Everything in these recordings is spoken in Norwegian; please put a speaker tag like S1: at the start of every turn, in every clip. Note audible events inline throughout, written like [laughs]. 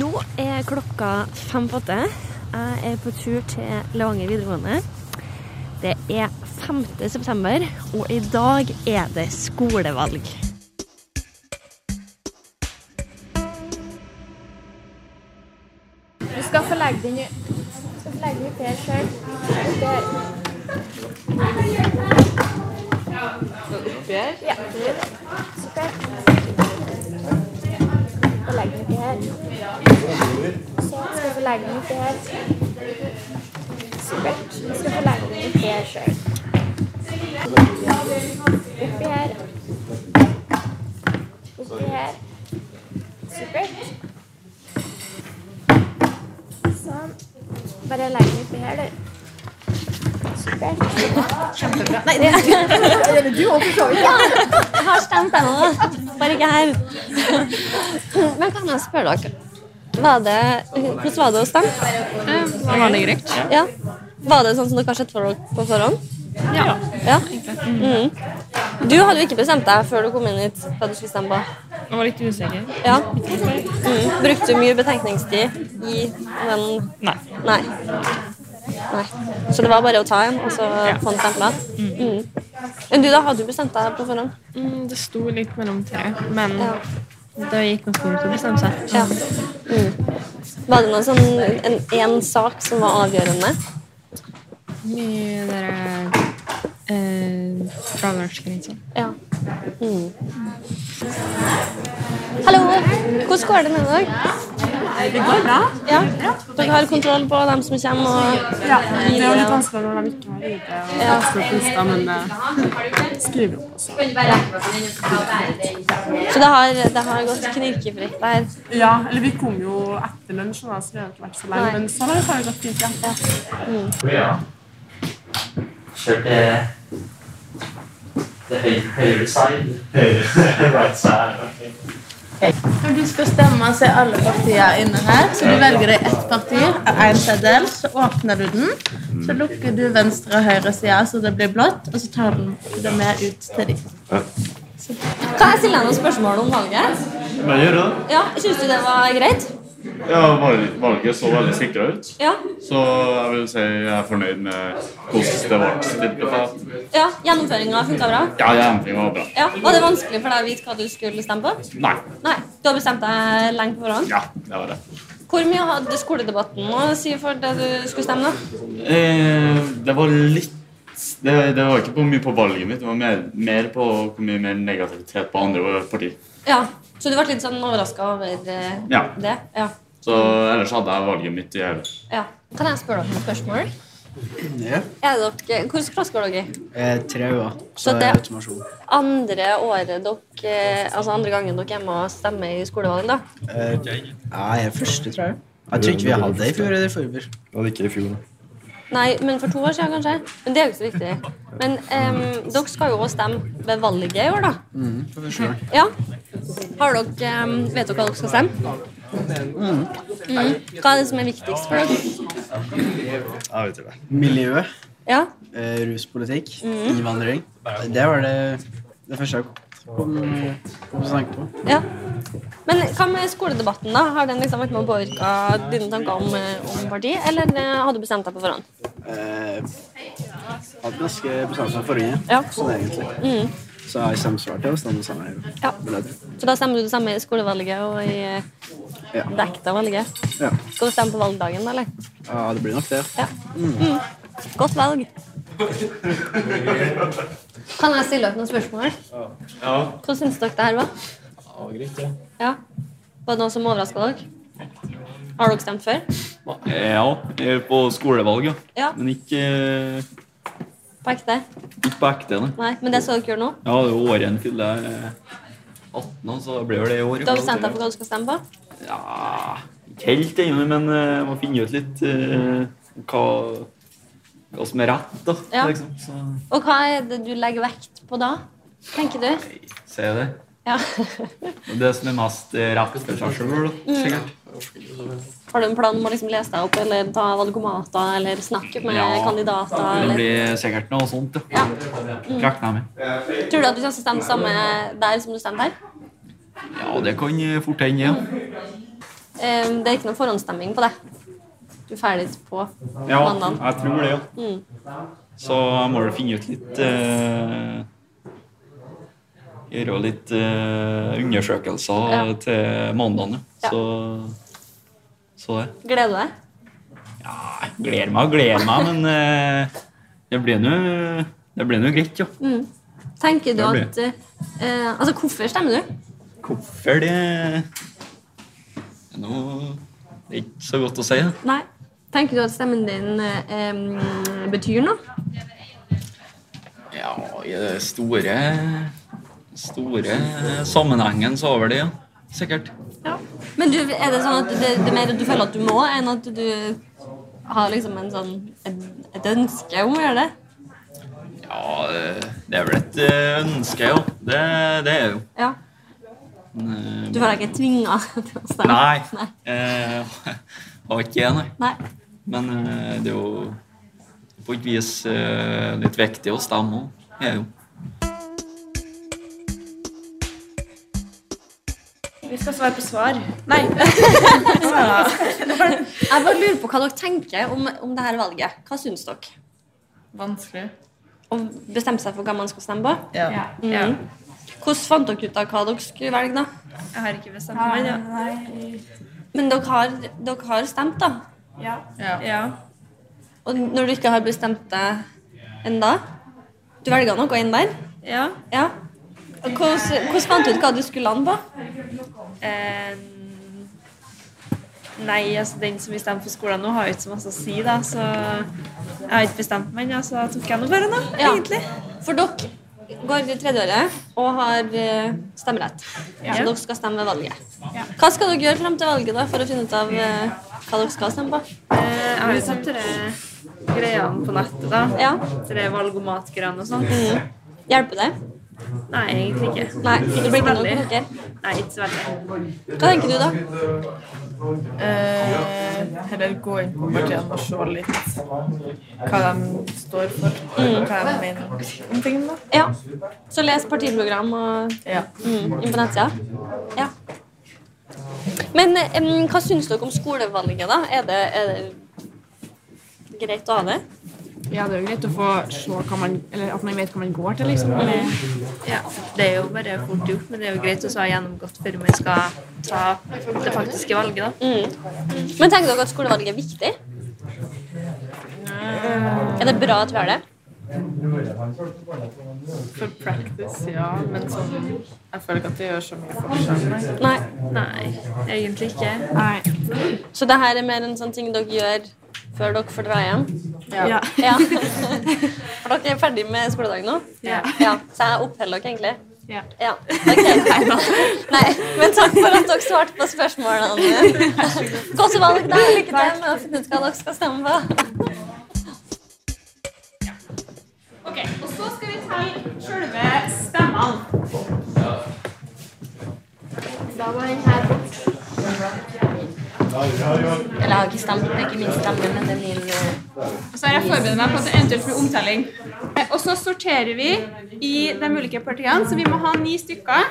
S1: Nå er klokka fem på åtte. Jeg er på tur til Levanger videregående. Det er 5. september, og i dag er det skolevalg.
S2: Du skal få legge den ut. Du skal få legge den ut her sjøl. Der. Ja. Super. Og legg den uti her. Så skal vi legge den uti her. Supert. Du skal få legge den uti her sjøl. Oppi her. Oppi her. Supert. Sånn. Bare legg den oppi her, du. Supert.
S1: Jeg har stemt ennå, bare ikke her. Men kan jeg spørre dere, var det, hvordan var det å stemme?
S3: Det var det greit.
S1: Ja. Var det sånn som dere har sett for dere på forhånd?
S3: Ja.
S1: Ja. Mm. Du hadde jo ikke bestemt deg før du kom inn hit hva du skulle stemme på.
S3: Jeg var litt usikker.
S1: Ja. Mm. Brukte du mye betenkningstid i den
S3: Nei.
S1: Nei. Nei. Så det var bare å ta en, og så få den stempla? Mm. Men du, da hadde du bestemt deg på forhånd?
S3: Mm, det sto litt mellom tre, men
S1: Ja.
S3: det gikk nok fint å bestemme seg.
S1: Ja. Mm. Var det noen sånn, en, en sak som var avgjørende?
S3: Mye der eh, fraværsgrensa.
S1: Ja. Mm. Hallo! Hvordan går det med dere?
S4: Det går bra.
S1: Ja. Dere har kontroll på dem som kommer? Og...
S4: Ja, det er jo litt vanskelig når de ikke har ID og
S1: Ja.
S4: vanskelig på lista, men eh, skriver opp også.
S1: Så det har, det har gått knirkefritt der.
S4: Ja, eller vi kom jo etter lunsj, da, så vi har ikke vært så lenge,
S1: Nei.
S4: men så har det bare gått fint, ja.
S5: Ja. Kjør til det høy, høyre side. Høyre right side. ok.
S6: Når du skal stemme, så er alle partier inne her. Så du velger deg ett parti av én seddel, så åpner du den. Så lukker du venstre og høyre side så det blir blått, og så tar du det med ut til de.
S1: Kan jeg stille deg noen spørsmål om valget?
S7: Men gjør det.
S1: Ja, Syns du det var greit?
S7: Ja, valg- valget så veldig sikra ut.
S1: Ja.
S7: Så jeg vil si jeg er fornøyd med hvordan det ble stilt på.
S1: ja. Gjennomføringa funka bra?
S7: Ja, gjennomføringen var bra.
S1: Ja. Var det vanskelig for deg å vite hva du skulle stemme på?
S7: Nei.
S1: Nei. Du har bestemt deg lenge på forhånd?
S7: Ja, det var det.
S1: Hvor mye hadde skoledebatten å si for det du skulle stemme, da?
S7: Eh, det var litt det, det var ikke på mye på valget mitt, det var mer, mer på hvor mye mer negativitet på andre partier.
S1: Ja, Så du ble litt sånn overraska over eh,
S7: Ja.
S1: det? Ja.
S7: Så ellers hadde jeg valget mitt i hodet.
S1: ja. Kan jeg spørre dere noen spørsmål?
S8: Ja.
S1: Er dere, Hvilken klasse går dere i?
S8: Eh, tre år,
S1: Så
S8: så
S1: det-
S8: er automasjon.
S1: Andre året dere, altså andre gangen dere er med og stemmer i skolevalg, da?
S8: Eh, ja, jeg er første, tror jeg. Jeg tror ikke vi hadde det i fjor eller i forfjor.
S9: Hadde ikke i fjor, da.
S1: Nei, men for to år siden, kanskje? Men det er jo ikke så viktig. Men em, dere skal jo også stemme ved valget i år, da.
S8: For første gang.
S1: Ja. Har dere, em, vet dere hva dere skal stemme? Mm. Hva er det som er viktigst for dere?
S9: Jeg vet ikke det.
S8: Miljø,
S1: Ja?
S8: eh, ruspolitikk,
S1: Mm.
S8: innvandring. Det var det, det første jeg kom, kom til å tenke på.
S1: Ja. Men hva med skoledebatten, da? Har den liksom vært med å påvirke dine tanker om, eh, om parti, eller eh, har du bestemt deg på forhånd?
S8: Eh, hadde ganske bestemt meg forrige,
S1: Ja.
S8: sånn egentlig. Så jeg stemsvarte og stemte samme.
S1: Ja.
S8: vil jeg tro.
S1: Mm. Så da stemmer du det samme i skolevalget og i eh,
S8: Ja.
S1: det ekte valget.
S8: Ja.
S1: Skal du stemme på valgdagen, da, eller?
S8: ja, det blir nok det.
S1: Ja. Mm. Godt valg. Kan jeg stille dere noen spørsmål?
S7: Ja.
S1: Hvordan syns dere det her var? Ja, greit, ja. Var det noe som overraska dere? Har dere stemt før?
S7: ja, jeg er på skolevalg, ja.
S1: Ja,
S7: Men ikke, eh,
S1: på ekte?
S7: ikke på ekte. Nei.
S1: Nei, men det skal dere gjøre nå?
S7: Ja, det er jo året en fyller eh, 18, og så blir vel det i år.
S1: Du har bestemt deg for hva du skal stemme på?
S7: Ja, ikke helt ennå, men eh, jeg må finne ut litt eh, hva, hva som er rett, da.
S1: Ja.
S7: Liksom. Så
S1: Og hva er det du legger vekt på da, tenker du?
S7: sier jeg det.
S1: Ja. [laughs]
S7: Det som er mest eh, rett for seg sjøl, da. Sikkert.
S1: Har du en plan om å liksom lese deg opp eller ta valgomater eller snakke med
S7: Ja.
S1: kandidater?
S7: Det
S1: Eller?
S7: blir sikkert noe sånt, ja.
S1: Ja.
S7: Regner jeg med.
S1: Tror du at du kommer til å stemme det samme der som du stemte her?
S7: Ja, det kan eh, fort hende, ja.
S1: Ehm, det er ikke noe forhåndsstemming på det. Du er ferdig på
S7: Ja,
S1: mandag.
S7: jeg tror det, ja.
S1: Mm.
S7: Så jeg må vel finne ut litt eh, Gjøre litt eh, undersøkelser
S1: Ja.
S7: til mandagen,
S1: Ja.
S7: ja. Så, så det.
S1: Gleder du deg?
S7: Gleder meg og gleder meg, men eh, det blir nå det blir nå greit, jo.
S1: Mm. Tenker du
S7: Det blir.
S1: at eh, Altså, hvorfor stemmer du?
S7: Hvorfor det Nå Det er ikke så godt å si. da.
S1: Nei. Tenker du at stemmen din eh, em, betyr noe?
S7: Ja, i det store store sammenhengen så over det, ja. Sikkert.
S1: Men du, er det sånn at det, det er mer at du føler at du må, enn at du har liksom en sånn et, et ønske om å gjøre det?
S7: Ja, det- det er vel et eh, ønske, jo. Det, det er jo.
S1: Ja.
S7: Men, eh,
S1: Du føler deg ikke tvinga [laughs] til å stemme?
S7: Nei.
S1: Nei.
S7: eh, [laughs] Har ikke det, nei.
S1: Nei.
S7: Men eh, det er jo på et vis eh, litt viktig å stemme òg. Det er jo.
S3: Vi skal svare på svar. Nei.
S1: Jeg bare lurer på hva dere tenker om, om det her valget. Hva syns dere?
S6: Vanskelig.
S1: Å bestemme seg for hva man skal stemme på? Mm.
S6: Ja. Mm.
S1: Hvordan fant dere ut av hva dere skulle velge, da?
S3: Jeg har ikke bestemt meg. Ja.
S1: Men dere har, dere har stemt, da?
S3: Ja.
S6: Ja.
S3: ja.
S1: Og når du ikke har bestemt deg enda, du velger noe inn der?
S3: ja.
S1: Ja. Og Hvordan hvordan fant du ut hva du skulle an på?
S3: Eh, nei, altså den som vi stemmer for skolen nå, har jo ikke så masse å si, da. Så jeg har ikke bestemt meg ennå, så da tok jeg nå bare nå,
S1: Ja.
S3: egentlig.
S1: For dere går i tredjeåret og har eh, stemmerett. Så dere skal stemme ved valget. Hva skal dere gjøre frem til valget da, for å finne ut av eh, hva dere skal stemme på?
S3: Eh, jeg har jo sett dere greiene på nettet, da.
S1: Ja.
S3: Dere valgomatgreiene og sånn.
S6: Mm.
S1: Hjelper det?
S3: Nei, egentlig ikke.
S1: Nei, det blir ikke noe for dere.
S3: Nei, ikke så veldig.
S1: Hva tenker du, da?
S10: Eh, heller gå inn på partiene og se litt hva de står for, og hva de mener om tingene. da.
S1: Ja. Så les partiprogram og
S10: Ja.
S1: Mm, inn på nettsida? Ja. Men em, hva syns dere om skolevalget, da? Er det, er det greit å ha det?
S10: ja, det er jo greit å få se hva man, eller at man vet hva man går til, liksom.
S3: Ja, det er jo bare fort gjort, men det er jo greit å så ha gjennomgått før man skal ta det faktiske valget, da.
S1: Mm. Men tenker dere at skolevalget er viktig?
S10: Eh,
S1: Er det bra at vi har det?
S10: For practice, ja, men sånn Jeg føler ikke at det gjør så mye forskjell.
S1: Nei.
S3: Nei, egentlig ikke.
S10: Nei.
S1: Så det her er mer en sånn ting dere gjør før dere får dra hjem?
S10: [laughs] Ja.
S1: Ja. [laughs] For dere er ferdig med skoledagen nå?
S10: Ja.
S1: Så jeg oppholder dere egentlig?
S10: Ja.
S1: ja. ok. Nei, men takk for at dere svarte på spørsmålene mine. Godt valg. da. Lykke til med å finne ut hva dere skal stemme på.
S11: Ok, og så skal vi telle selve stemmene.
S1: Eller jeg har ikke stemt, det er ikke min stemme, men det er min eh,
S11: Og så har jeg forberedt meg på at det eventuelt blir omtelling. Eh, Og så sorterer vi i de ulike partiene, så vi må ha ni stykker.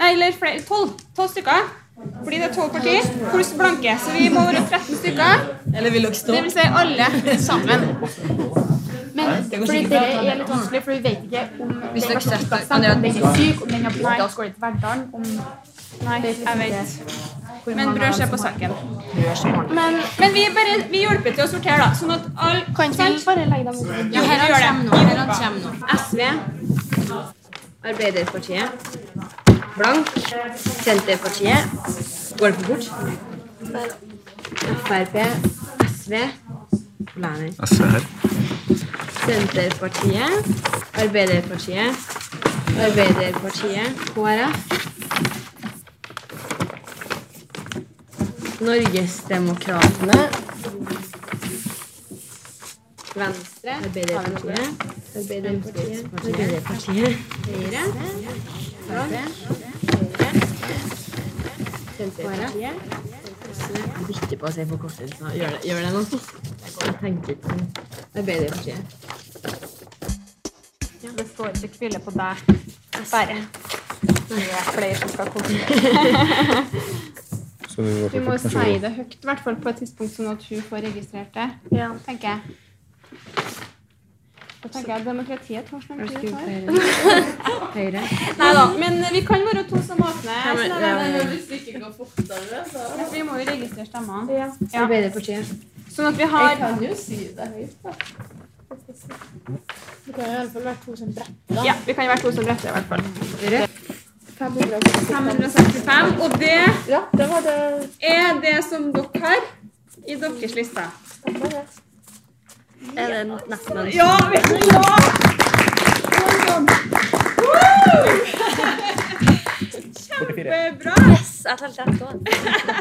S11: Nei, eller flere. Tolv. Tolv stykker. Fordi det er tolv partier pluss blanke. Så vi må være 13 stykker.
S6: Eller vil dere stå?
S11: Det vil si alle sammen.
S10: Men fordi det er litt vanskelig, for vi vet ikke om Hvis dere setter kan det er syk, om den har blitt av skole til hverdagen, om
S11: Nei, jeg vet.
S10: hvor
S11: Men
S10: mange
S11: brød
S10: av dem
S11: skjer på
S10: som har-
S11: saken. Men, men vi, bare, vi hjelper til å sortere, da. Sånn at alle kan
S10: Bare legg dem ut.
S11: Ja, her gjør det.
S3: SV, Arbeiderpartiet, Blank, Senterpartiet, går det for fort? Frp, SV, Blaner. Senterpartiet, Arbeiderpartiet, Arbeiderpartiet, KrF. Norgesdemokratene. Venstre, Arbeiderpartiet. Arbeiderpartiet, Arbeiderpartiet, Høyre, Høyre, Senterpartiet.
S10: Bytte på å si forkortelsen. Gjør det, gjør det nå. Jeg tenker ikke sånn.
S3: Arbeiderpartiet.
S10: Det står ikke hvile på deg, dessverre. Det er flere som skal konkurrere.
S12: Så du
S11: Vi må jo si det høyt, i hvert fall på et tidspunkt sånn at hun får registrert det, tenker jeg. Da tenker jeg at demokratiet tar snart tid det
S1: eh,
S11: tar.
S6: Høyre.
S11: Nei da, men vi kan være to som åpner.
S6: Ja, men-
S11: sånn at
S6: ja,
S11: det-
S6: men hvis det ikke går fortere, så-
S11: Ja, Vi må jo registrere stemmene. Ja.
S6: Arbeiderpartiet.
S11: Sånn at vi har
S6: Jeg kan jo si det høyt, da.
S10: Det kan jo i alle fall være to som bretter.
S11: Ja, vi kan være to som bretter i hvert fall.
S10: Rødt.
S11: 565. Og det, er det som dere har i deres liste.
S1: [laughs] Er det nesten en
S11: Ja! vi- ja! Kjempebra.
S1: Yes, jeg telte ett òg.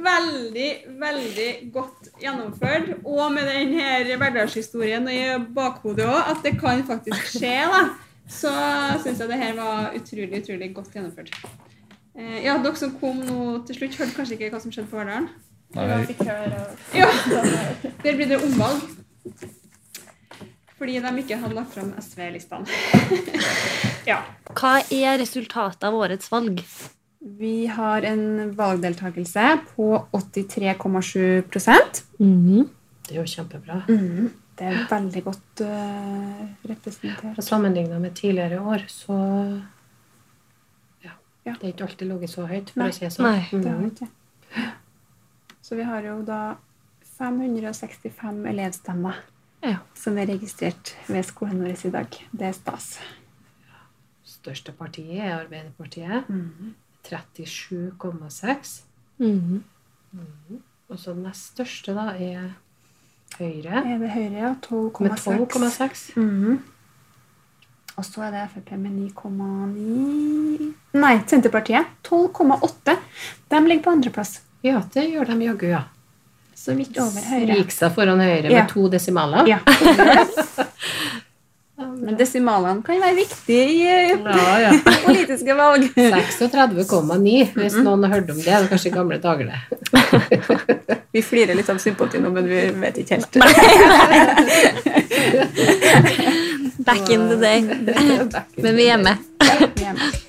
S11: Veldig, veldig godt gjennomført. Og med den her hverdagshistorien i bakhodet òg, at det kan faktisk skje, da. Så syns jeg det her var utrolig, utrolig godt gjennomført. Eh, ja, dere som kom nå til slutt, hørte kanskje ikke hva som skjedde på Verdalen? Ja. Der blir det omvalg. Fordi de ikke hadde lagt fram SV-listene. [laughs] ja.
S1: Hva er resultatet av årets [laughs] valg?
S11: Vi har en valgdeltakelse på 83,7
S13: Det er jo kjempebra.
S11: Mhm. Det er veldig godt eh, representert.
S13: Og sammenligna med tidligere år, så ja, Det er ikke alltid ligget så høyt, for
S11: Nei,
S13: å si det sånn.
S11: nei, det har vi
S13: Mhm.
S11: ikke. Så vi har jo da 565 elevstemmer som er registrert ved skolen vår i dag. Det er stas.
S13: Største partiet er Arbeiderpartiet. 37,6. Mhm. Og så nest største, da, er Høyre.
S11: Er det Høyre, ja? 12,6.
S13: Med 12,6.
S11: Mhm. Og så er det Frp med 9,9 Nei, Senterpartiet. 12,8. De ligger på andreplass.
S13: Ja, det gjør de jaggu, ja.
S11: Så vidt over Høyre.
S13: Gikk seg foran Høyre
S11: Ja.
S13: med to desimaler.
S11: [laughs] Ja. Men desimalene kan være viktige i eh, [laughs]
S13: Ja, ja. [laughs]
S11: politiske valg.
S13: 36,9, hvis noen har hørt om det. Det er kanskje i gamle dager, det.
S11: Vi flirer litt av sympati nå, men vi vet ikke helt.
S1: Back in the day. Men vi er med.
S11: Vi er med.